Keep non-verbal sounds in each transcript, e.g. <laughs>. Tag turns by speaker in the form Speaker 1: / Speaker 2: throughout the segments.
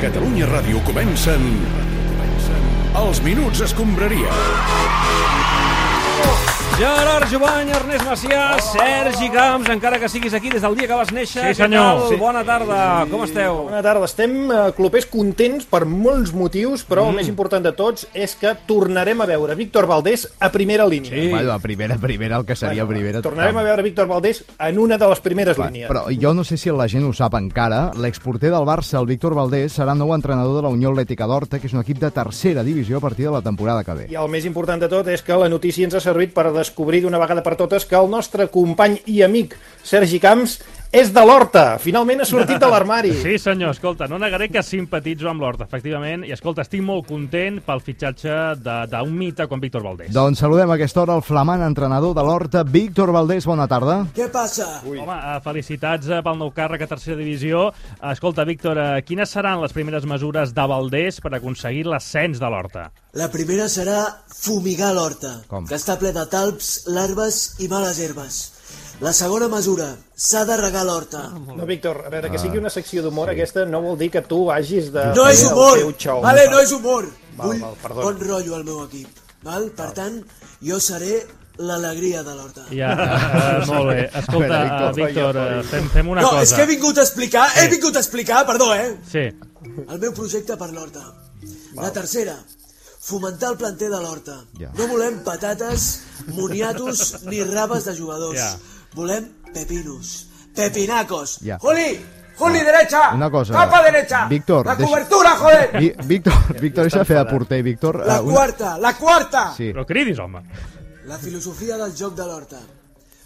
Speaker 1: Catalunya Ràdio comencen... Els Minuts Escombraria.
Speaker 2: Gerard Jovany, Ernest Macià, Sergi Camps, encara que siguis aquí des del dia que vas néixer.
Speaker 3: Sí,
Speaker 2: Què
Speaker 3: senyor.
Speaker 2: tal?
Speaker 3: Sí.
Speaker 2: Bona tarda, com esteu?
Speaker 4: Bona tarda, estem eh, clopers contents per molts motius, però mm. el més important de tots és que tornarem a veure Víctor Valdés a primera línia.
Speaker 2: Sí.
Speaker 5: Bueno, a primera, primera, el que seria primera...
Speaker 4: Tornarem a veure Víctor Valdés en una de les primeres
Speaker 5: Va,
Speaker 4: línies.
Speaker 5: Però jo no sé si la gent ho sap encara, l'exporter del Barça, el Víctor Valdés, serà nou entrenador de la Unió Atlètica d'Horta, que és un equip de tercera divisió a partir de la temporada que ve.
Speaker 4: I el més important de tot és que la notícia ens ha servit per descobrir d'una vegada per totes que el nostre company i amic Sergi Camps és de l'Horta. Finalment ha sortit de
Speaker 3: <laughs>
Speaker 4: l'armari.
Speaker 3: Sí, senyor, escolta, no negaré que simpatitzo amb l'Horta, efectivament, i escolta, estic molt content pel fitxatge de- d'un mite com Víctor Valdés.
Speaker 5: Doncs saludem a aquesta hora el flamant entrenador de l'Horta, Víctor Valdés, bona tarda.
Speaker 6: Què passa?
Speaker 3: Ui. Home, eh, felicitats eh, pel nou càrrec a tercera divisió. Escolta, Víctor, eh, quines seran les primeres mesures de Valdés per aconseguir l'ascens de l'Horta?
Speaker 6: La primera serà fumigar l'horta,
Speaker 5: Com?
Speaker 6: que està ple de talps, larves i males herbes. La segona mesura, s'ha de regar l'horta.
Speaker 4: No, Víctor, a veure, que sigui una secció d'humor sí. aquesta no vol dir que tu vagis de...
Speaker 6: No és
Speaker 4: del
Speaker 6: humor!
Speaker 4: teu xou.
Speaker 6: Vale, no és humor!
Speaker 4: Val,
Speaker 6: Vull
Speaker 4: val, perdona.
Speaker 6: bon rotllo al meu equip. Val? Per tant, jo seré l'alegria de l'horta.
Speaker 3: Ja, eh, molt bé. Escolta,
Speaker 5: A
Speaker 3: eh,
Speaker 5: veure,
Speaker 3: Víctor, eh, fem, fem una
Speaker 6: No,
Speaker 3: cosa.
Speaker 6: és que he vingut a explicar, he vingut a explicar, perdó, eh?
Speaker 3: Sí,
Speaker 6: El meu projecte per l'horta. La tercera, fomentar el planter de l'horta.
Speaker 5: Ja.
Speaker 6: No volem patates, moniatos ni raves de jugadors.
Speaker 3: Ja.
Speaker 6: Volem pepinos, pepinacos.
Speaker 5: Ja. Ah,
Speaker 6: Juli, Juli,
Speaker 5: Una
Speaker 6: derecha,
Speaker 5: cosa...
Speaker 6: tapa Ah, derecha.
Speaker 5: Víctor,
Speaker 6: la
Speaker 5: deixa-
Speaker 6: cobertura, joder.
Speaker 5: Vi- Víctor, Víctor, deixa fer de porter, Víctor.
Speaker 6: La
Speaker 5: Eh, una-
Speaker 6: quarta, la quarta.
Speaker 5: Sí.
Speaker 3: però cridis, home.
Speaker 6: La filosofia del joc de l'horta.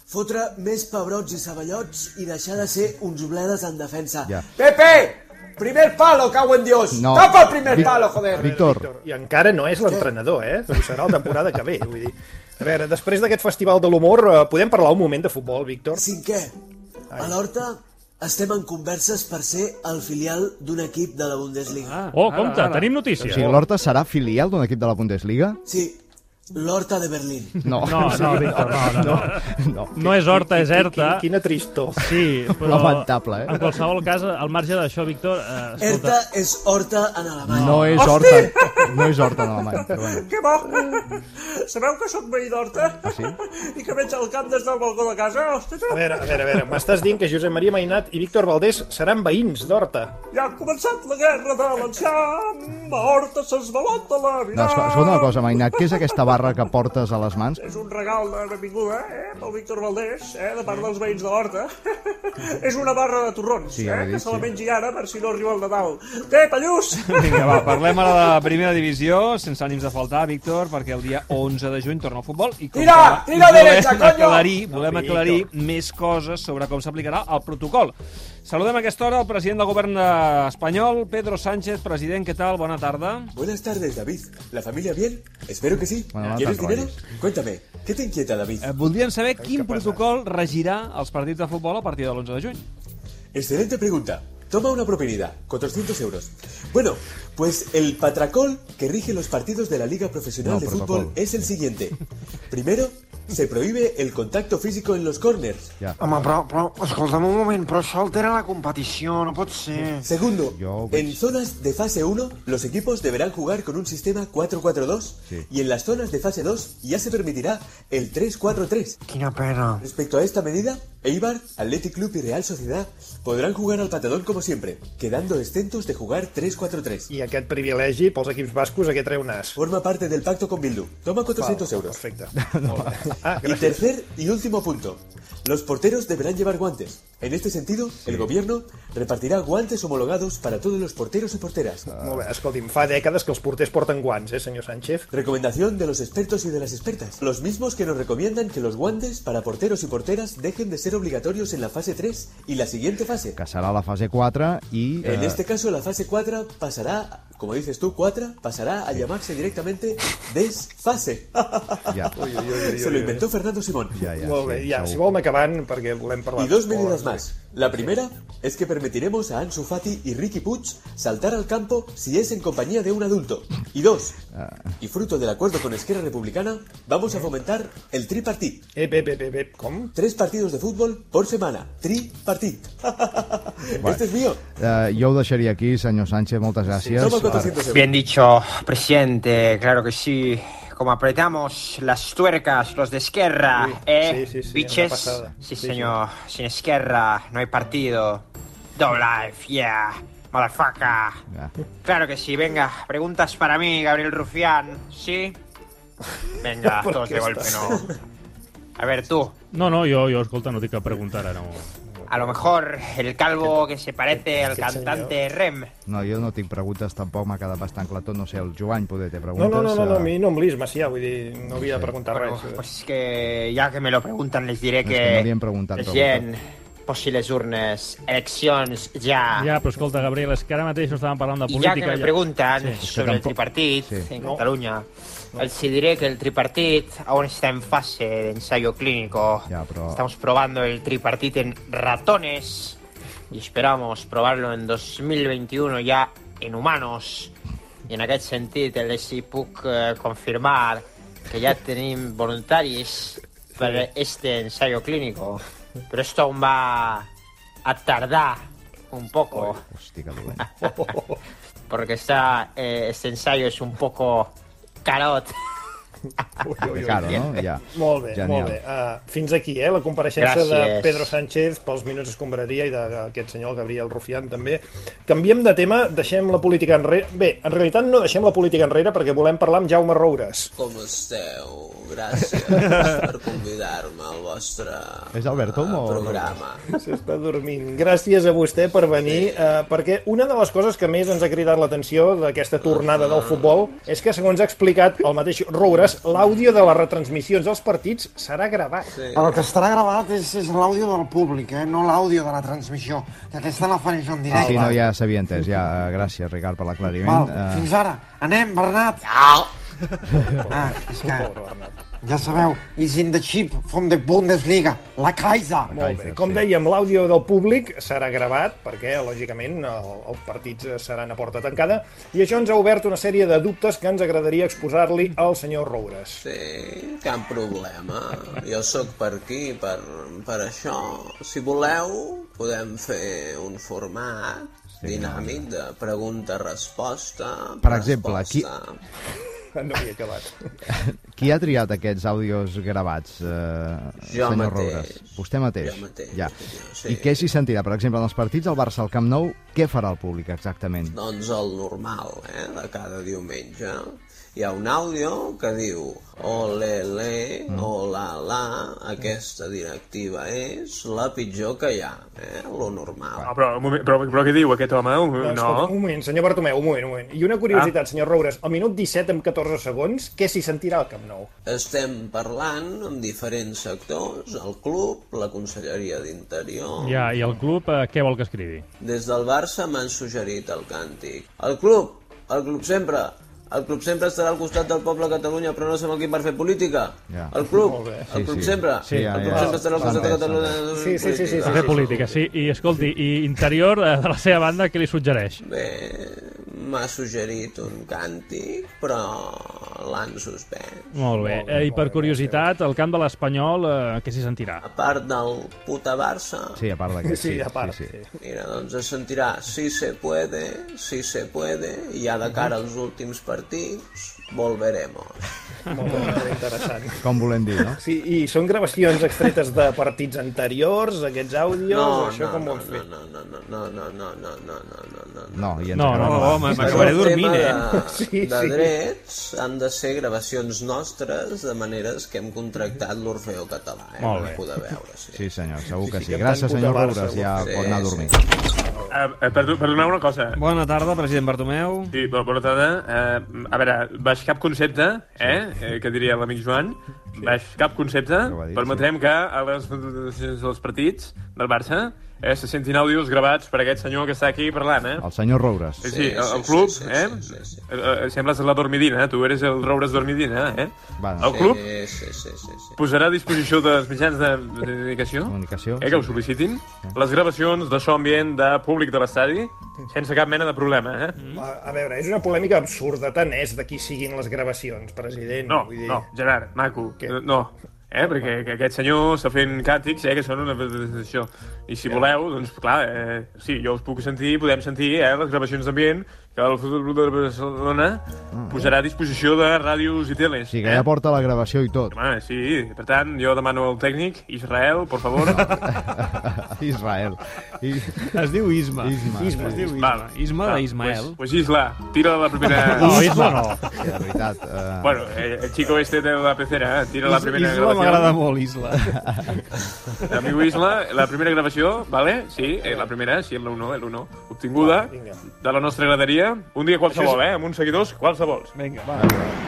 Speaker 6: Fotre més pebrots i ceballots i deixar de ser uns bledes en defensa.
Speaker 5: Ja.
Speaker 6: Pepe, primer palo, cago en Dios.
Speaker 5: No.
Speaker 6: Tapa el primer
Speaker 5: Vic-
Speaker 6: palo, joder.
Speaker 5: Víctor,
Speaker 4: I encara no és l'entrenador, eh? Doncs serà la temporada que ve, vull dir. A veure, després d'aquest festival de l'humor, eh, podem parlar un moment de futbol, Víctor?
Speaker 6: Cinquè, a l'Horta estem en converses per ser el filial d'un equip de la Bundesliga.
Speaker 3: Oh, compte, tenim notícies.
Speaker 5: o sigui, l'Horta serà filial d'un equip de la Bundesliga?
Speaker 6: Sí, l'Horta de Berlín.
Speaker 5: No.
Speaker 3: No, no,
Speaker 5: <laughs>
Speaker 3: Víctor, no, no. no.
Speaker 5: <laughs> no.
Speaker 3: No és Horta, és Erta.
Speaker 4: Quina, quina tristor.
Speaker 3: Sí, però...
Speaker 5: Lamentable, eh?
Speaker 3: En qualsevol cas, al marge d'això, Víctor, eh, escolta...
Speaker 6: Erta és Horta en alemany.
Speaker 5: No és Horta, no és Horta en alemany. Però bueno.
Speaker 7: Que bo! <laughs> Sabeu que sóc veí d'Horta? sí? I que veig el camp des del balcó de casa? Ostres,
Speaker 4: A veure, a veure, a veure, m'estàs dient que Josep Maria Mainat i Víctor Valdés seran veïns d'Horta.
Speaker 7: ja ha començat la guerra de l'enxam, a Horta s'esbalota la vida.
Speaker 5: No, esco- escolta una cosa, Mainat, què és aquesta barra que portes a les mans?
Speaker 7: És un regal de benvinguda, eh, pel Víctor Valdés, eh, de part dels veïns de l'Horta. <laughs> és una barra de torrons,
Speaker 5: Sí, ja
Speaker 7: eh,
Speaker 5: l'he
Speaker 7: que
Speaker 5: dit,
Speaker 7: se la
Speaker 5: sí.
Speaker 7: mengi ara per si no arriba el Nadal. Té,
Speaker 5: <laughs>
Speaker 7: Pallús!
Speaker 8: Vinga, va, parlem ara de la primera divisió, sense ànims de faltar, Víctor, perquè el dia 11 de juny torna al futbol. I com
Speaker 7: Tira,
Speaker 8: que
Speaker 7: tira
Speaker 8: volem
Speaker 7: derecha, coño!
Speaker 8: aclarir, volem aclarir més coses sobre com s'aplicarà el protocol. Saludem a aquesta hora el president del govern espanyol, Pedro Sánchez. President, què tal? Bona tarda.
Speaker 9: Buenas tardes, David. ¿La familia bien? Espero que sí.
Speaker 5: Bueno, no
Speaker 9: ¿Quieres
Speaker 5: tan
Speaker 9: dinero?
Speaker 5: rollis.
Speaker 9: Cuéntame, ¿qué te inquieta, David?
Speaker 8: Eh, voldríem saber quin protocol regirà els partits de futbol a partir de l'11 de juny.
Speaker 9: Excelente pregunta. Toma una propinidad, 400 euros. Bueno, pues el patracol que rige los partidos de la Liga Profesional
Speaker 5: No,
Speaker 9: de
Speaker 5: protocolo.
Speaker 9: Fútbol es el siguiente. Primero, se prohíbe el contacto físico en los corners.
Speaker 5: Ja.
Speaker 10: Home, però, però, escolta'm un moment, però això altera la competició, no pot ser.
Speaker 9: Segundo,
Speaker 5: Yo, pues.
Speaker 9: en zonas de fase 1, los equipos deberán jugar con un sistema 4-4-2
Speaker 5: Sí.
Speaker 9: y en las zonas de fase 2 ya se permitirá el 3-4-3.
Speaker 10: Quina pena.
Speaker 9: Respecto a esta medida, Eibar, Athletic Club y Real Sociedad podrán jugar al patadón como siempre, quedando exentos de jugar 3-4-3.
Speaker 4: I aquest privilegi pels equips bascos, aquest treu nas.
Speaker 9: Forma parte del pacto con Bildu. Toma 400 euros.
Speaker 4: Perfecte. Ah,
Speaker 9: Y
Speaker 4: gràcies.
Speaker 9: tercer y último punto. Los porteros deberán llevar guantes. En este sentido, el gobierno repartirá guantes homologados para todos los porteros y porteras.
Speaker 4: Ah. Molt bé, escolti'm, fa dècades que els porters porten guants, eh, senyor Sánchez?
Speaker 9: Recomendación de los expertos y de las expertas. Los mismos que nos recomiendan que los guantes para porteros y porteras dejen de ser obligatorios en la fase 3 y la siguiente fase.
Speaker 5: que serà la fase 4 i...
Speaker 9: En
Speaker 4: Ah.
Speaker 5: eh,
Speaker 9: este caso, la fase 4 pasará, como dices tú, 4, pasará a llamarse directamente desfase.
Speaker 5: ja.
Speaker 9: Se lo inventó Fernando Simón.
Speaker 5: Ja, ja,
Speaker 4: Molt bé,
Speaker 5: sí,
Speaker 4: ja,
Speaker 5: segur.
Speaker 4: si volen acabant, perquè volem parlar...
Speaker 9: Y dos
Speaker 4: de futbol
Speaker 9: medidas
Speaker 4: en
Speaker 9: más. La primera es que permitiremos a Ansu Fati y Ricky Puig saltar al campo si es en compañía de un adulto. Y dos, y fruto del acuerdo con Esquerra Republicana, vamos a fomentar el tripartit.
Speaker 4: Ep, ep, ep, ep, ep. Com?
Speaker 9: Tres partidos de fútbol por semana. Tripartit. <laughs> Este es mío.
Speaker 5: Eh, jo ho deixaria aquí, senyor Sánchez, moltes gràcies.
Speaker 9: Toma 400 euros.
Speaker 11: Bien dicho, presidente, claro que sí. Como apretamos las tuercas, los de Esquerra, ¿eh?
Speaker 4: sí, sí, sí, una
Speaker 11: Biches.
Speaker 4: pasada.
Speaker 11: Sí,
Speaker 4: Sí,
Speaker 11: señor. Sin Esquerra no hay partido. Double life, yeah. Motherfucker. Claro que sí, venga. Preguntas para mí, Gabriel Rufián. ¿Sí?
Speaker 4: <laughs>
Speaker 11: Venga,
Speaker 3: ¿Por
Speaker 11: todos
Speaker 3: qué
Speaker 11: de golpe,
Speaker 3: estás-
Speaker 11: no. A ver, tú.
Speaker 3: No, no, jo, jo, escolta, no tinc cap pregunta ara, no.
Speaker 11: A lo mejor el calvo que se parece al
Speaker 5: señor.
Speaker 11: cantante Rem.
Speaker 5: No, jo no tinc preguntes, tampoc m'ha quedat bastant clar tot. No sé, el Joan poder té
Speaker 4: No,
Speaker 5: preguntes.
Speaker 4: no, no, no, no,
Speaker 5: eh,
Speaker 4: a mi no em lis, Macià, vull dir, no havia de preguntar res.
Speaker 11: Pues es que ya que me lo preguntan les diré que...
Speaker 5: que no li hem preguntat,
Speaker 11: President, posi les urnes, eleccions ja.
Speaker 3: Ja, però escolta, Gabriel, és que ara mateix no estàvem parlant de
Speaker 11: Ah. I
Speaker 3: política.
Speaker 11: ja que me pregunten
Speaker 3: Sí, és que
Speaker 11: sobre el
Speaker 3: tampoc-
Speaker 11: tripartit
Speaker 3: Sí.
Speaker 11: en
Speaker 3: No.
Speaker 11: Catalunya, els diré que el tripartit aún está en fase de ensayo clínico. Estamos probando el tripartit en ratones y esperamos probarlo en 2021 ya en humanos. I en aquest sentit els hi puc eh, confirmar que ja tenim voluntaris per este ensayo clínico. Però esto aún va a tardar un poco.
Speaker 5: Hosti, que dolent.
Speaker 4: Ah.
Speaker 11: <laughs> Porque está, eh, este ensayo es un poco carot.
Speaker 5: De cara, no? Ja.
Speaker 4: Molt bé,
Speaker 5: Genial.
Speaker 4: molt bé. Uh, fins aquí, eh, la compareixença
Speaker 5: Gràcies.
Speaker 4: de Pedro Sánchez pels minuts escombraria i d'aquest senyor Gabriel Rufián també. Canviem de tema, deixem la política enrere. Bé, en realitat no deixem la política enrere perquè volem parlar amb Jaume Roures.
Speaker 12: Com esteu? Gràcies per convidar-me al vostre
Speaker 5: És Alberto o...
Speaker 12: programa.
Speaker 4: S'està dormint. Gràcies a vostè per venir, eh, perquè una de les coses que més ens ha cridat l'atenció d'aquesta tornada del futbol és que, segons ha explicat el mateix Roures, l'àudio de les retransmissions dels partits serà gravat. Sí.
Speaker 10: Però el que estarà gravat és, és l'àudio del públic, eh? no l'àudio de la transmissió. I aquesta la faré jo en
Speaker 5: Ah,
Speaker 10: directe.
Speaker 5: sí, no, ja s'havia entès. Ja, eh, gràcies, Ricard, per l'aclariment.
Speaker 10: Val,
Speaker 5: Eh,
Speaker 10: fins ara. Anem, Bernat. <laughs> Ah, és que... Ja sabeu, is in the chip from the Bundesliga, la Kaiser.
Speaker 4: Molt bé. Com dèiem, l'àudio del públic serà gravat, perquè, lògicament, el- els partits eh, seran a porta tancada, i això ens ha obert una sèrie de dubtes que ens agradaria exposar-li al senyor Roures.
Speaker 12: Sí, cap problema. Jo sóc per aquí, per, per això. Si voleu, podem fer un format dinàmic de pregunta-resposta.
Speaker 5: Per exemple, qui,
Speaker 4: No havia acabat.
Speaker 5: qui ha triat aquests àudios gravats, eh,
Speaker 12: Jo
Speaker 5: senyor
Speaker 12: mateix.
Speaker 5: Roures? Vostè mateix?
Speaker 12: Jo mateix,
Speaker 5: Ja. I què s'hi sentirà? Per exemple, en els partits al Barça al Camp Nou, què farà el públic exactament?
Speaker 12: <laughs> Doncs el normal, eh, de cada diumenge. Hi ha un àudio que diu ole, le,
Speaker 7: Mm.
Speaker 12: hola, la, aquesta directiva és la pitjor que hi ha, eh, lo normal.
Speaker 7: Ah, però, un moment, però, però què diu aquest home? Un,
Speaker 4: No,
Speaker 7: no.
Speaker 4: Doncs escolta, un moment, senyor Bartomeu, un moment, un moment. I una curiositat, senyor Roures, al minut 17 amb 14 segons, què s'hi sentirà al Camp Nou?
Speaker 12: Estem parlant amb diferents sectors, el club, la Conselleria d'Interior...
Speaker 3: Ja, i el club, eh, què vol que escrivi?
Speaker 12: Des del Barça m'han suggerit el càntic. El club, el club sempre, el club sempre estarà al costat del poble de Catalunya, però no som aquí per fer política.
Speaker 3: Ja.
Speaker 12: El club,
Speaker 3: Molt bé.
Speaker 12: el
Speaker 3: Sí,
Speaker 12: club
Speaker 3: sí.
Speaker 12: sempre,
Speaker 3: Sí, ja,
Speaker 12: el club
Speaker 3: ja.
Speaker 12: sempre estarà al costat de
Speaker 3: S'ha entès,
Speaker 12: Catalunya.
Speaker 3: s'ha entès.
Speaker 12: Sí, sí, sí,
Speaker 3: Per fer política, sí. I escolti, i interior, eh, de la seva banda, què li suggereix?
Speaker 12: Bé, m'ha suggerit un càntic, però l'han suspès.
Speaker 3: Molt bé. Eh, I per curiositat, al camp de l'Espanyol, eh, què s'hi sentirà?
Speaker 12: A part del puta Barça...
Speaker 5: Sí, a part d'aquest, Sí, sí, a part, sí, sí.
Speaker 12: Mira, doncs es sentirà si se puede, si se puede, i ja de cara als últims partits, volveremos.
Speaker 4: Molt bé, molt interessant.
Speaker 5: <laughs> Com volem dir, no?
Speaker 4: Sí, i són gravacions extretes de partits anteriors, aquests àudios,
Speaker 12: No,
Speaker 4: això
Speaker 12: no,
Speaker 4: com ho
Speaker 12: no,
Speaker 4: han fet?
Speaker 12: no, no, no, no, no, no, no, no, no, no, no,
Speaker 5: No, i ens
Speaker 3: No,
Speaker 5: acabem
Speaker 3: no,
Speaker 5: la-
Speaker 3: home, m'acabaré
Speaker 12: Però el tema de,
Speaker 5: <laughs>
Speaker 3: Sí,
Speaker 12: de
Speaker 3: sí.
Speaker 12: drets han de ser gravacions nostres de maneres que hem contractat l'Orfeo Català, eh?
Speaker 5: Molt bé.
Speaker 12: Per poder veure, sí.
Speaker 5: Sí, senyor, segur que sí.
Speaker 12: que
Speaker 5: Gràcies,
Speaker 12: tant
Speaker 5: senyor
Speaker 12: puta Barça,
Speaker 5: Roures, ja
Speaker 12: sí,
Speaker 5: pot anar a
Speaker 12: sí.
Speaker 5: dormir.
Speaker 7: Eh, eh, perdo- perdoneu una cosa.
Speaker 8: Bona tarda, president Bartomeu.
Speaker 7: Sí, bo- bona tarda. Eh, a veure, baix cap concepte, eh, eh que diria l'amic Joan, baix cap concepte,
Speaker 13: dir,
Speaker 7: permetrem que a les, als partits del Barça
Speaker 13: eh, se sentin àudios gravats per aquest senyor que està aquí parlant, eh?
Speaker 5: El senyor Roures.
Speaker 13: Sí, sí, el, el club, sí, sí, eh? Sí, sí, sí. Eh, eh, Sembles la dormidina, tu eres el Roures dormidina, eh?
Speaker 5: Bueno.
Speaker 13: El club
Speaker 12: Sí, sí, sí, sí, sí.
Speaker 13: posarà a disposició dels mitjans de, de comunicació,
Speaker 5: comunicació
Speaker 13: eh, que ho sol·licitin, les gravacions de so ambient de públic de l'estadi, sense cap mena de problema, eh?
Speaker 4: A, a veure, és una polèmica absurda, tant és de qui siguin les gravacions, president.
Speaker 13: No, no, Gerard, maco, eh, no. Eh, perquè que aquest senyor està fent càtics, eh, que són una... Això. I si voleu, doncs, clar, eh, sí, jo us puc sentir, podem sentir, eh, les gravacions d'ambient que el Futbol Club de Barcelona posarà a disposició de ràdios i teles.
Speaker 5: O sigui, Ah. que ja
Speaker 13: eh?
Speaker 5: porta la gravació i tot.
Speaker 13: Home, sí, per tant, jo demano al tècnic, Israel, por
Speaker 5: <laughs>
Speaker 13: favor.
Speaker 5: Israel. I...
Speaker 3: <laughs> Es diu Isma.
Speaker 5: Isma.
Speaker 3: Isma. Es diu
Speaker 13: Isma.
Speaker 3: Isma
Speaker 13: Ah,
Speaker 3: d'Ismael.
Speaker 13: Pues, pues Isla, tira la primera...
Speaker 3: <laughs> No, Isla no.
Speaker 5: De veritat. Uh...
Speaker 13: Bueno, eh, el chico este de la pecera, eh, tira la primera
Speaker 3: Isla
Speaker 13: gravació.
Speaker 3: m'agrada molt,
Speaker 13: <laughs>
Speaker 3: Isla.
Speaker 13: Amigo Isla, la primera gravació, vale? Sí, eh, la primera, sí, l'1, l'1, obtinguda de la nostra graderia. Un dia qualsevol, eh? Amb uns seguidors qualsevols.
Speaker 3: Vinga,
Speaker 13: va.
Speaker 5: Rossell.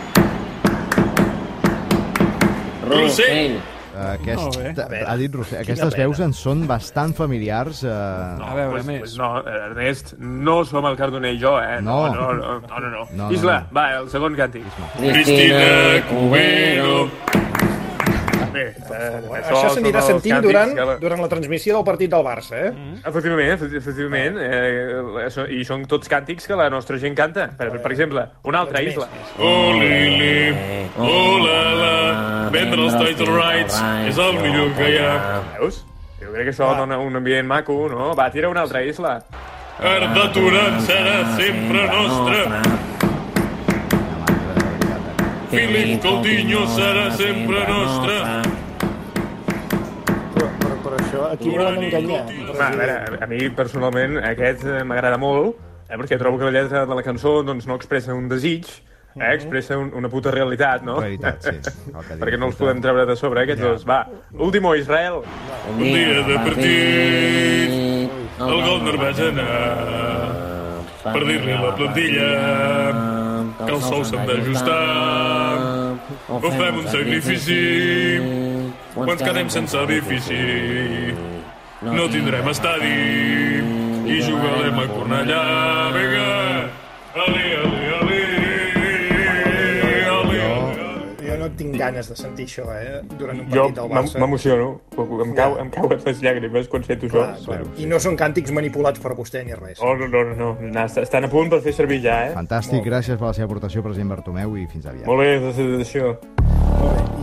Speaker 13: Rossell.
Speaker 5: Eh, Aquest,
Speaker 13: Molt bé.
Speaker 5: ha dit Rossell.
Speaker 13: Quina
Speaker 5: Aquestes
Speaker 13: pena.
Speaker 5: veus en són bastant familiars. Eh...
Speaker 13: No, pues, Pues no, eh, Ernest, no som el Cardoner i jo, eh?
Speaker 5: No.
Speaker 13: No, no, no. no, no.
Speaker 5: No,
Speaker 13: no
Speaker 5: no,
Speaker 13: Isla,
Speaker 5: no.
Speaker 13: va, el segon càntic.
Speaker 5: Cristina Cubero.
Speaker 13: Bé, eh,
Speaker 4: Això s'anirà
Speaker 13: són els
Speaker 4: sentint
Speaker 13: càntics
Speaker 4: durant,
Speaker 13: que la-
Speaker 4: durant la transmissió del partit del Barça, eh?
Speaker 13: Efectivament, efecti- efectivament. Eh, això- I són tots càntics que la nostra gent canta. Per, per, per exemple, una altra isla.
Speaker 14: Oh, Olele, olala, vendre els Toys R Rights és el millor que hi ha.
Speaker 13: Veus? Jo crec que això dona un ambient maco, no? Va, tira una altra isla.
Speaker 14: Arda Turan serà sempre nostre. Philip Coutinho serà sempre nostre.
Speaker 4: Però, però això, aquí
Speaker 13: Urani,
Speaker 4: volen enganyar.
Speaker 13: Va, a veure, a mi personalment aquest eh, m'agrada molt, eh, perquè trobo que la lletra de la cançó doncs, no expressa un desig, eh, expressa un, una puta realitat, no?
Speaker 5: Mhm.
Speaker 13: <laughs>
Speaker 5: Realitat, sí.
Speaker 13: perquè no els
Speaker 5: eh.
Speaker 13: podem treure de sobre, aquests dos. Va, último, Israel.
Speaker 14: Un dia de partit, el Golner va anar per dir-li a la plantilla que els sous s'han d'ajustar, o fem un sacrifici, o ens quedem sense bifici. No tindrem estadi i jugarem a Cornellà. Vinga, ali, ali, ali,
Speaker 13: Mm.
Speaker 14: ali, ali.
Speaker 4: Jo no tinc ganes de sentir això, eh? Durant un
Speaker 13: Jo
Speaker 4: partit del
Speaker 13: m'em-
Speaker 4: Barça.
Speaker 13: m'emociono, em, cau, em cauen les llàgrimes quan sento això.
Speaker 4: Clar, clar. I no són càntics manipulats per vostè ni res.
Speaker 13: Oh, no, no, no, no. Na, est- Estan a punt per fer servir ja, eh?
Speaker 5: Fantàstic, gràcies per la seva aportació, president Bartomeu, i fins aviat.
Speaker 13: Molt bé, des de això.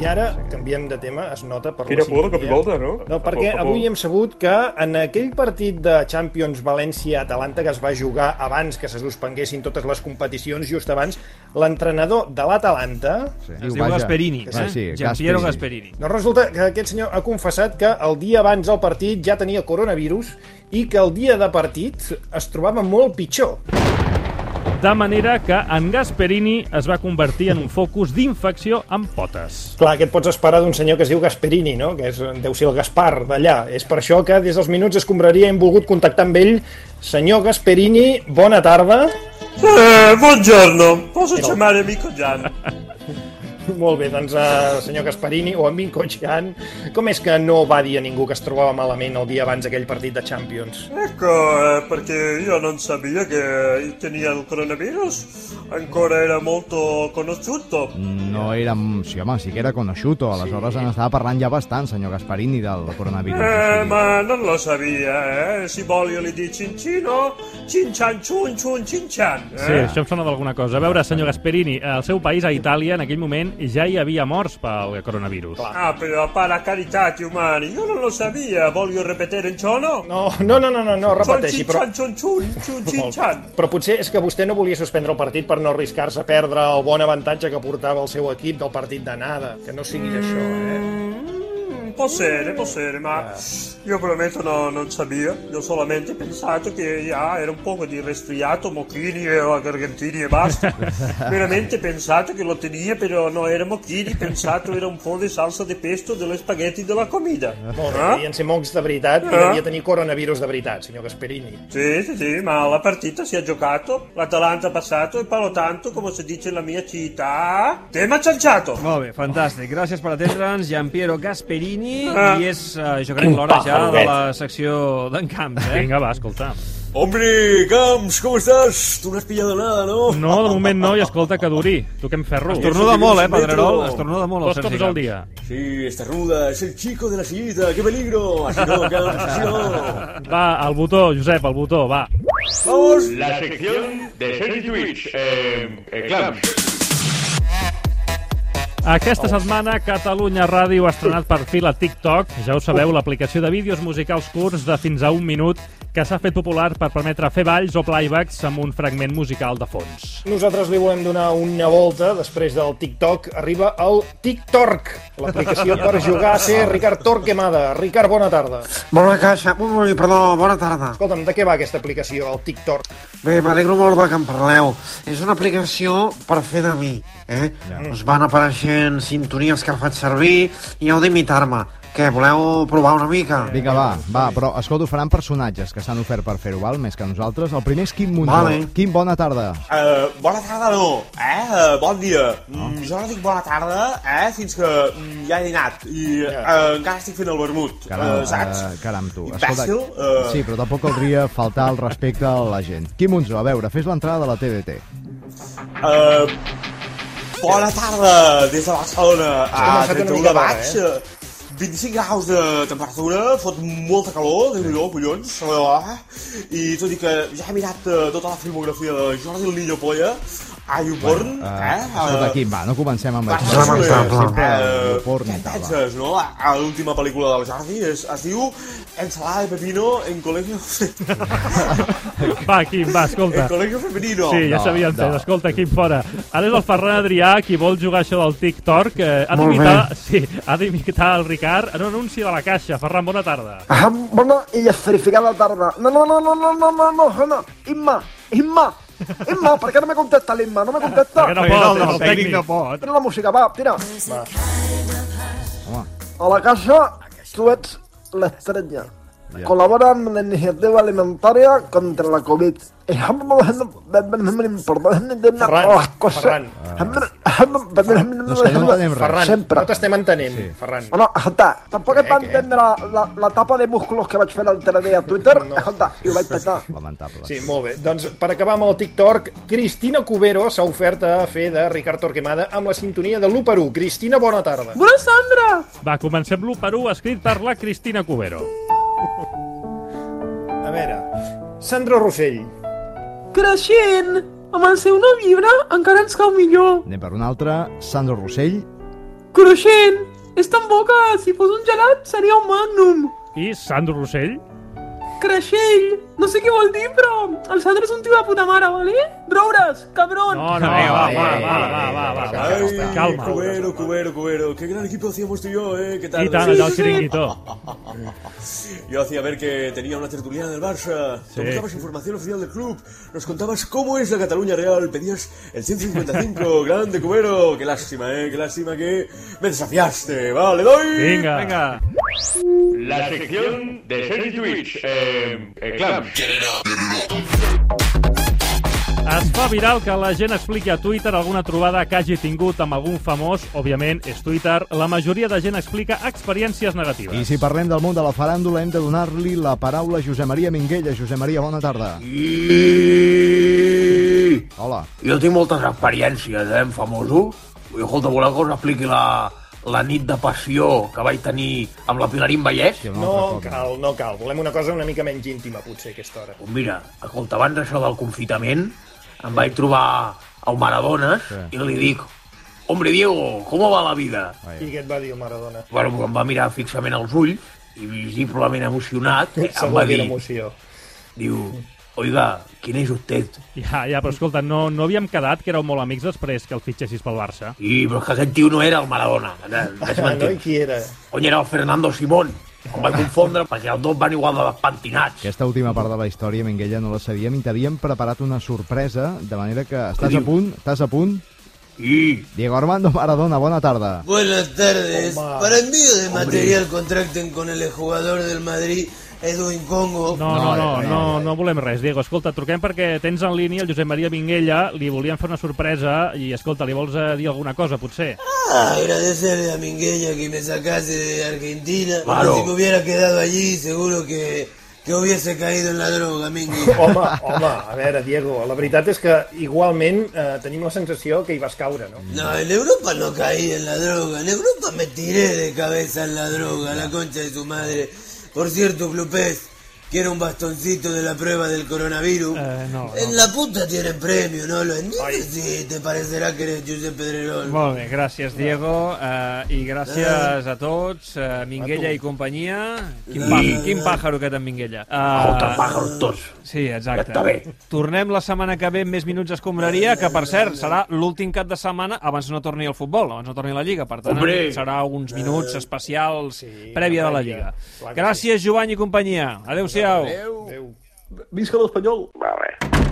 Speaker 4: I ara canviem de tema, es nota per
Speaker 13: Quina
Speaker 4: la
Speaker 13: por de cop i
Speaker 4: sintonia.
Speaker 13: volta, no?
Speaker 4: No, perquè
Speaker 13: Por favor.
Speaker 4: avui hem sabut que en aquell partit de Champions València-Atalanta que es va jugar abans que se suspenguessin totes les competicions, just abans, l'entrenador de l'Atalanta...
Speaker 5: Sí.
Speaker 3: Es diu Gasperini,
Speaker 4: Sí,
Speaker 3: eh?
Speaker 4: sí,
Speaker 3: Giampiero
Speaker 4: Gasperini.
Speaker 3: Gasperini.
Speaker 4: No, resulta que aquest senyor ha confessat que el dia abans del partit ja tenia coronavirus i que el dia de partit es trobava molt pitjor.
Speaker 3: De manera que en Gasperini es va convertir en un focus d'infecció amb potes.
Speaker 4: Clar, què et pots esperar d'un senyor que es diu Gasperini, no? Que és, deu ser el Gaspar d'allà. És per això que des dels minuts escombraria hem volgut contactar amb ell. Senyor Gasperini, bona tarda.
Speaker 7: Eh, buongiorno, posso
Speaker 4: Però-
Speaker 7: chiamare amico Gian?
Speaker 4: <laughs> Molt bé, doncs uh, senyor Gasperini o amic Cochian, com és que no va dir a ningú que es trobava malament el dia abans d'aquell partit de Champions?
Speaker 7: Ecco, eh, perché io non sapevo che tenia il coronavirus, ancora era molto conosciuto.
Speaker 5: No era... Sí, home, sí que era conosciuto. Aleshores en estava parlant ja bastant, senyor Gasparini, del coronavirus.
Speaker 7: Eh, ma non lo sapevo, eh. Si voglio li di cincino, cincian ciun ciun cincian.
Speaker 3: Sí,
Speaker 7: Eh?
Speaker 3: això em sona d'alguna cosa. A veure, senyor Gasperini, al seu país, a Itàlia, en aquell moment ja hi havia morts pel coronavirus.
Speaker 7: Ah, però per la carità di umani, io non lo sapevo, voglio ripetere ciò no?
Speaker 4: No, no, no, no, no, no repeteixi, però...
Speaker 7: Ciun ciun ciun ciun ciun cincian.
Speaker 4: Però potser és que vostè no volia suspendre el partit per no arriscar-se a perdre el bon avantatge que portava el seu equip del partit d'anada. Que no
Speaker 7: Mm,
Speaker 4: sigui d'això, eh?
Speaker 7: Può essere, può essere, ma io prometto no- non sapevo, io ho solamente pensato che ah, era un poco di resfriato, mochini e gargantini e basta.
Speaker 3: <laughs>
Speaker 7: Veramente pensato che lo tenia, però non era mochini, pensato era un po' di salsa di pesto delle spaghetti della comida.
Speaker 4: Molt bé,
Speaker 7: Ah?
Speaker 4: devien ser mocs de veritat i
Speaker 7: Ah.
Speaker 4: devia tenir coronavirus de veritat, senyor Gasperini.
Speaker 7: Sì, sì, sì, ma la partita si è giocato, l'Atalanta ha passato e parlo tanto, come si dice nella mia città, tema cianciato!
Speaker 2: Molt bé, fantàstic. Gràcies per atendre'ns, Giampiero Gasperini. Sanyi
Speaker 3: Ah.
Speaker 2: i és, eh, jo crec, l'hora ja de la secció d'en Camps, eh?
Speaker 3: Vinga, va, escolta.
Speaker 12: Hombre, Camps, ¿cómo estás? Tú no has pillado nada, ¿no?
Speaker 3: No, de moment no, i escolta, que duri. Toquem ferro.
Speaker 12: Estornuda molt, eh, Pedrerol?
Speaker 3: Estornuda molt, el
Speaker 12: Dos cops
Speaker 3: Sergi
Speaker 12: al
Speaker 3: Camps.
Speaker 12: dia. Sí,
Speaker 15: este
Speaker 12: esta ruda, es el chico de la sillita, ¡qué peligro! Así no, Camps, así no.
Speaker 3: Va, al botó, Josep, al botó, va.
Speaker 12: ¡Vamos!
Speaker 14: La sección de Sergi Twitch. Eh, eh, Clams.
Speaker 3: Aquesta setmana Catalunya Ràdio ha estrenat perfil a TikTok, ja ho sabeu, l'aplicació de vídeos musicals curts de fins a un minut que s'ha fet popular per permetre fer balls o playbacks amb un fragment musical de fons.
Speaker 4: Nosaltres li volem donar una volta després del TikTok. Arriba el TikTok, l'aplicació per jugar a ser Ricard Torquemada. Ricard, bona tarda.
Speaker 10: Bona caixa. Ui, perdó, bona tarda.
Speaker 4: Escolta'm, de què va aquesta aplicació, el TikTok?
Speaker 10: Bé, m'alegro molt de que en parleu. És una aplicació per fer de mi, eh? Ja. Us van apareixent sintonies que faig servir i heu d'imitar-me. Què, voleu provar una mica?
Speaker 5: Vinga, va, va, però escolta, ho faran personatges que s'han ofert per fer-ho, val? Més que nosaltres. El primer és Quim Monzó.
Speaker 10: Vale.
Speaker 5: Quim, bona tarda.
Speaker 15: Eh, bona tarda no, eh? eh bon dia. Mm, jo no dic bona tarda, eh? Fins que mm, ja he dinat i eh, encara estic fent el vermut, eh, saps?
Speaker 5: eh, caram, tu.
Speaker 15: Imbècil, eh.
Speaker 5: Sí, però tampoc caldria faltar el respecte a la gent. Quim Monzó, a veure, fes l'entrada de la TDT.
Speaker 15: Eh, bona tarda des de Barcelona a
Speaker 4: començat una
Speaker 15: 31
Speaker 4: mica
Speaker 15: de
Speaker 4: d'hora,
Speaker 15: maig.
Speaker 4: eh?
Speaker 15: Eh? 25 graus de temperatura, fot molta calor, déu nhi collons, eh? i tot i que ja he mirat eh, tota la filmografia de Jordi el Niño Polla, a Youporn,
Speaker 5: Eh,
Speaker 15: eh?
Speaker 5: escolta, Quim, va, no comencem amb
Speaker 15: Va,
Speaker 5: això.
Speaker 15: va, va, va.
Speaker 5: Sempre
Speaker 15: Eh,
Speaker 5: el porno i tal, va.
Speaker 15: Penses, no? A- A l'última pel·lícula del Jordi es, es diu Ensalada de pepino en colegio...
Speaker 3: Va, Quim, va, escolta.
Speaker 15: El colegio femenino.
Speaker 3: Sí, ja
Speaker 15: No,
Speaker 3: sabíem
Speaker 15: no.
Speaker 3: no. Escolta, Quim, fora. Ara és el Ferran Adrià qui vol jugar això del TikTok. Eh, ha
Speaker 10: Molt
Speaker 3: d'imitar sí, ha d'imitar el Ricard en un anunci de la caixa. Ferran, bona tarda.
Speaker 10: Ah, bona i esferificada tarda. No, no, no, no, no, no, no, no, Hanna. Imma, Imma, Imma, per què no me contesta l'Imma? No me contesta.
Speaker 3: Perquè no pot, Perquè no, és el el tècnic tècnic. no pot.
Speaker 10: Tira la música, va, tira. Va.
Speaker 5: Home.
Speaker 10: A la caixa, tu ets l'estrella.
Speaker 5: Ja.
Speaker 10: Col·labora amb la iniciativa alimentària contra la Covid. Eh, Ferran,
Speaker 4: Ferran.
Speaker 5: No, és que no entenem res.
Speaker 4: Ferran,
Speaker 10: Sempre.
Speaker 4: no t'estem entenent, sí. Ferran. Eh,
Speaker 10: Bueno, escolta, tampoc et va entendre la, la, la tapa de músculos que vaig fer l'altre dia a Twitter, no. escolta, i ho vaig petar.
Speaker 5: Lamentable.
Speaker 4: Sí, molt bé. Doncs per acabar amb el TikTok, Cristina Cubero s'ha ofert a fer de Ricard Torquemada amb la sintonia de l'1 per 1. Cristina, bona tarda.
Speaker 16: Eh,
Speaker 10: Bona Sandra!
Speaker 3: Va, comencem l'1 per 1, escrit per la Cristina Cubero.
Speaker 4: A veure, Sandro Rossell.
Speaker 16: Creixent! Amb el seu nou llibre encara ens cau millor.
Speaker 5: Anem per un altre. Sandro Rossell.
Speaker 16: Creixent! És tan bo que si fos un gelat seria un magnum.
Speaker 3: I Sandro Rossell?
Speaker 16: Creixell! No sé què vol dir, però el Sandro és un tio de puta mare, vale? Roures, cabron!
Speaker 3: Oh, No, no, vinga, va, va, va, va, va, va, va.
Speaker 15: Ay,
Speaker 3: Calma.
Speaker 15: Cubero, Cubero, Cubero, qué gran equipo hacíamos tú y yo, ¿eh? ¿Qué tal?
Speaker 3: I tant, allò el xiringuito.
Speaker 15: <laughs> Yo hacía ver que tenía una tertuliana del Barça,
Speaker 3: Sí.
Speaker 15: te buscabas información oficial del club, nos contabas cómo es la Cataluña real, pedías el 155, grande Cubero, qué lástima, ¿eh? Qué lástima que me desafiaste, vale, doy.
Speaker 14: Venga.
Speaker 15: venga.
Speaker 14: La sección de Sergi Twitch. Eh, eh, Clams.
Speaker 3: Es fa viral que la gent expliqui a Twitter alguna trobada que hagi tingut amb algun famós. Òbviament, és Twitter. La majoria de gent explica experiències negatives.
Speaker 5: I si parlem del món de la faràndula, hem de donar-li la paraula a Josep Maria Minguella. Josep Maria, bona tarda.
Speaker 17: I...
Speaker 5: Hola.
Speaker 17: Jo tinc moltes experiències, eh, en famoso. I, escolta, voleu que us expliqui la, la nit de passió que vaig tenir amb la Pilarín Vallès?
Speaker 4: No cal, no cal. Volem una cosa una mica menys íntima, potser, a aquesta hora.
Speaker 17: Mira, escolta, abans d'això del confitament, em vaig trobar a un Maradones sí. i li dic Hombre, Diego, ¿cómo va la vida?
Speaker 4: I què et va dir el Maradona?
Speaker 17: Bueno, em va mirar fixament als ulls i visiblement
Speaker 4: <laughs>
Speaker 17: emocionat em
Speaker 4: Segur
Speaker 17: va
Speaker 4: que era
Speaker 17: dir,
Speaker 4: emoció.
Speaker 17: diu, oiga, ¿quién es usted?
Speaker 3: Ja, ja, però escolta, no, no havíem quedat que éreu molt amics després que el fitxessis pel Barça.
Speaker 17: I, però és que aquest tio no era el Maradona.
Speaker 4: <laughs>
Speaker 17: Deixa'm
Speaker 4: No, i
Speaker 17: entendre.
Speaker 4: qui era?
Speaker 17: Cony, era el Fernando Simón. Em vaig confondre perquè els dos van igual de despentinats.
Speaker 5: Aquesta última part de la història, Minguella, no la sabíem i t'havíem preparat una sorpresa, de manera que estàs a punt, estàs a punt.
Speaker 17: I...
Speaker 5: Diego Armando Maradona, bona tarda.
Speaker 3: Oh,
Speaker 18: Buenas tardes. Para envío de material contacten con el jugador del Madrid Edwin Congo.
Speaker 3: No, no,
Speaker 18: eh,
Speaker 3: no, eh, no, no volem res, Diego. Escolta, truquem perquè tens en línia el Josep Maria Minguella, li volíem fer una sorpresa i, escolta, li vols eh, dir alguna cosa, potser?
Speaker 18: Ah, agradecerle a Mingueña que me sacase de Argentina.
Speaker 3: Claro.
Speaker 18: Si me hubiera quedado allí, seguro que, que hubiese caído en la droga, Mingui.
Speaker 4: Home, home, a veure, Diego, la veritat és que igualment eh, tenim la sensació que hi vas caure, no?
Speaker 18: No, en Europa no caí en la droga. En Europa me tiré de cabeza en la droga, la concha de su madre. Por cierto, Flupés, quiero un bastoncito de la prueba del coronavirus.
Speaker 3: Eh, no,
Speaker 18: en la puta tienen premio, ¿no? Lo entiendes si te parecerá que eres Giuseppe Pedrerol.
Speaker 8: Molt bé, gràcies, Diego, eh, i gràcies a tots, eh, Minguella
Speaker 18: A tu.
Speaker 8: i companyia. Quin,
Speaker 7: I- Ah,
Speaker 8: pa, quin pàjaro aquest en Minguella.
Speaker 7: A otro pájaro, tots.
Speaker 8: Sí, exacte.
Speaker 7: Ja està bé.
Speaker 8: Tornem la setmana que ve amb més minuts escombraria, que per cert serà l'últim cap de setmana abans no torni el futbol, abans no torni la Lliga. Per tant,
Speaker 7: Hombre. Eh.
Speaker 8: serà uns minuts especials prèvia de la Lliga.
Speaker 7: Clar que
Speaker 8: Gràcies, Jovany i companyia. Adéu-siau.
Speaker 7: Visca l'Espanyol! Vale.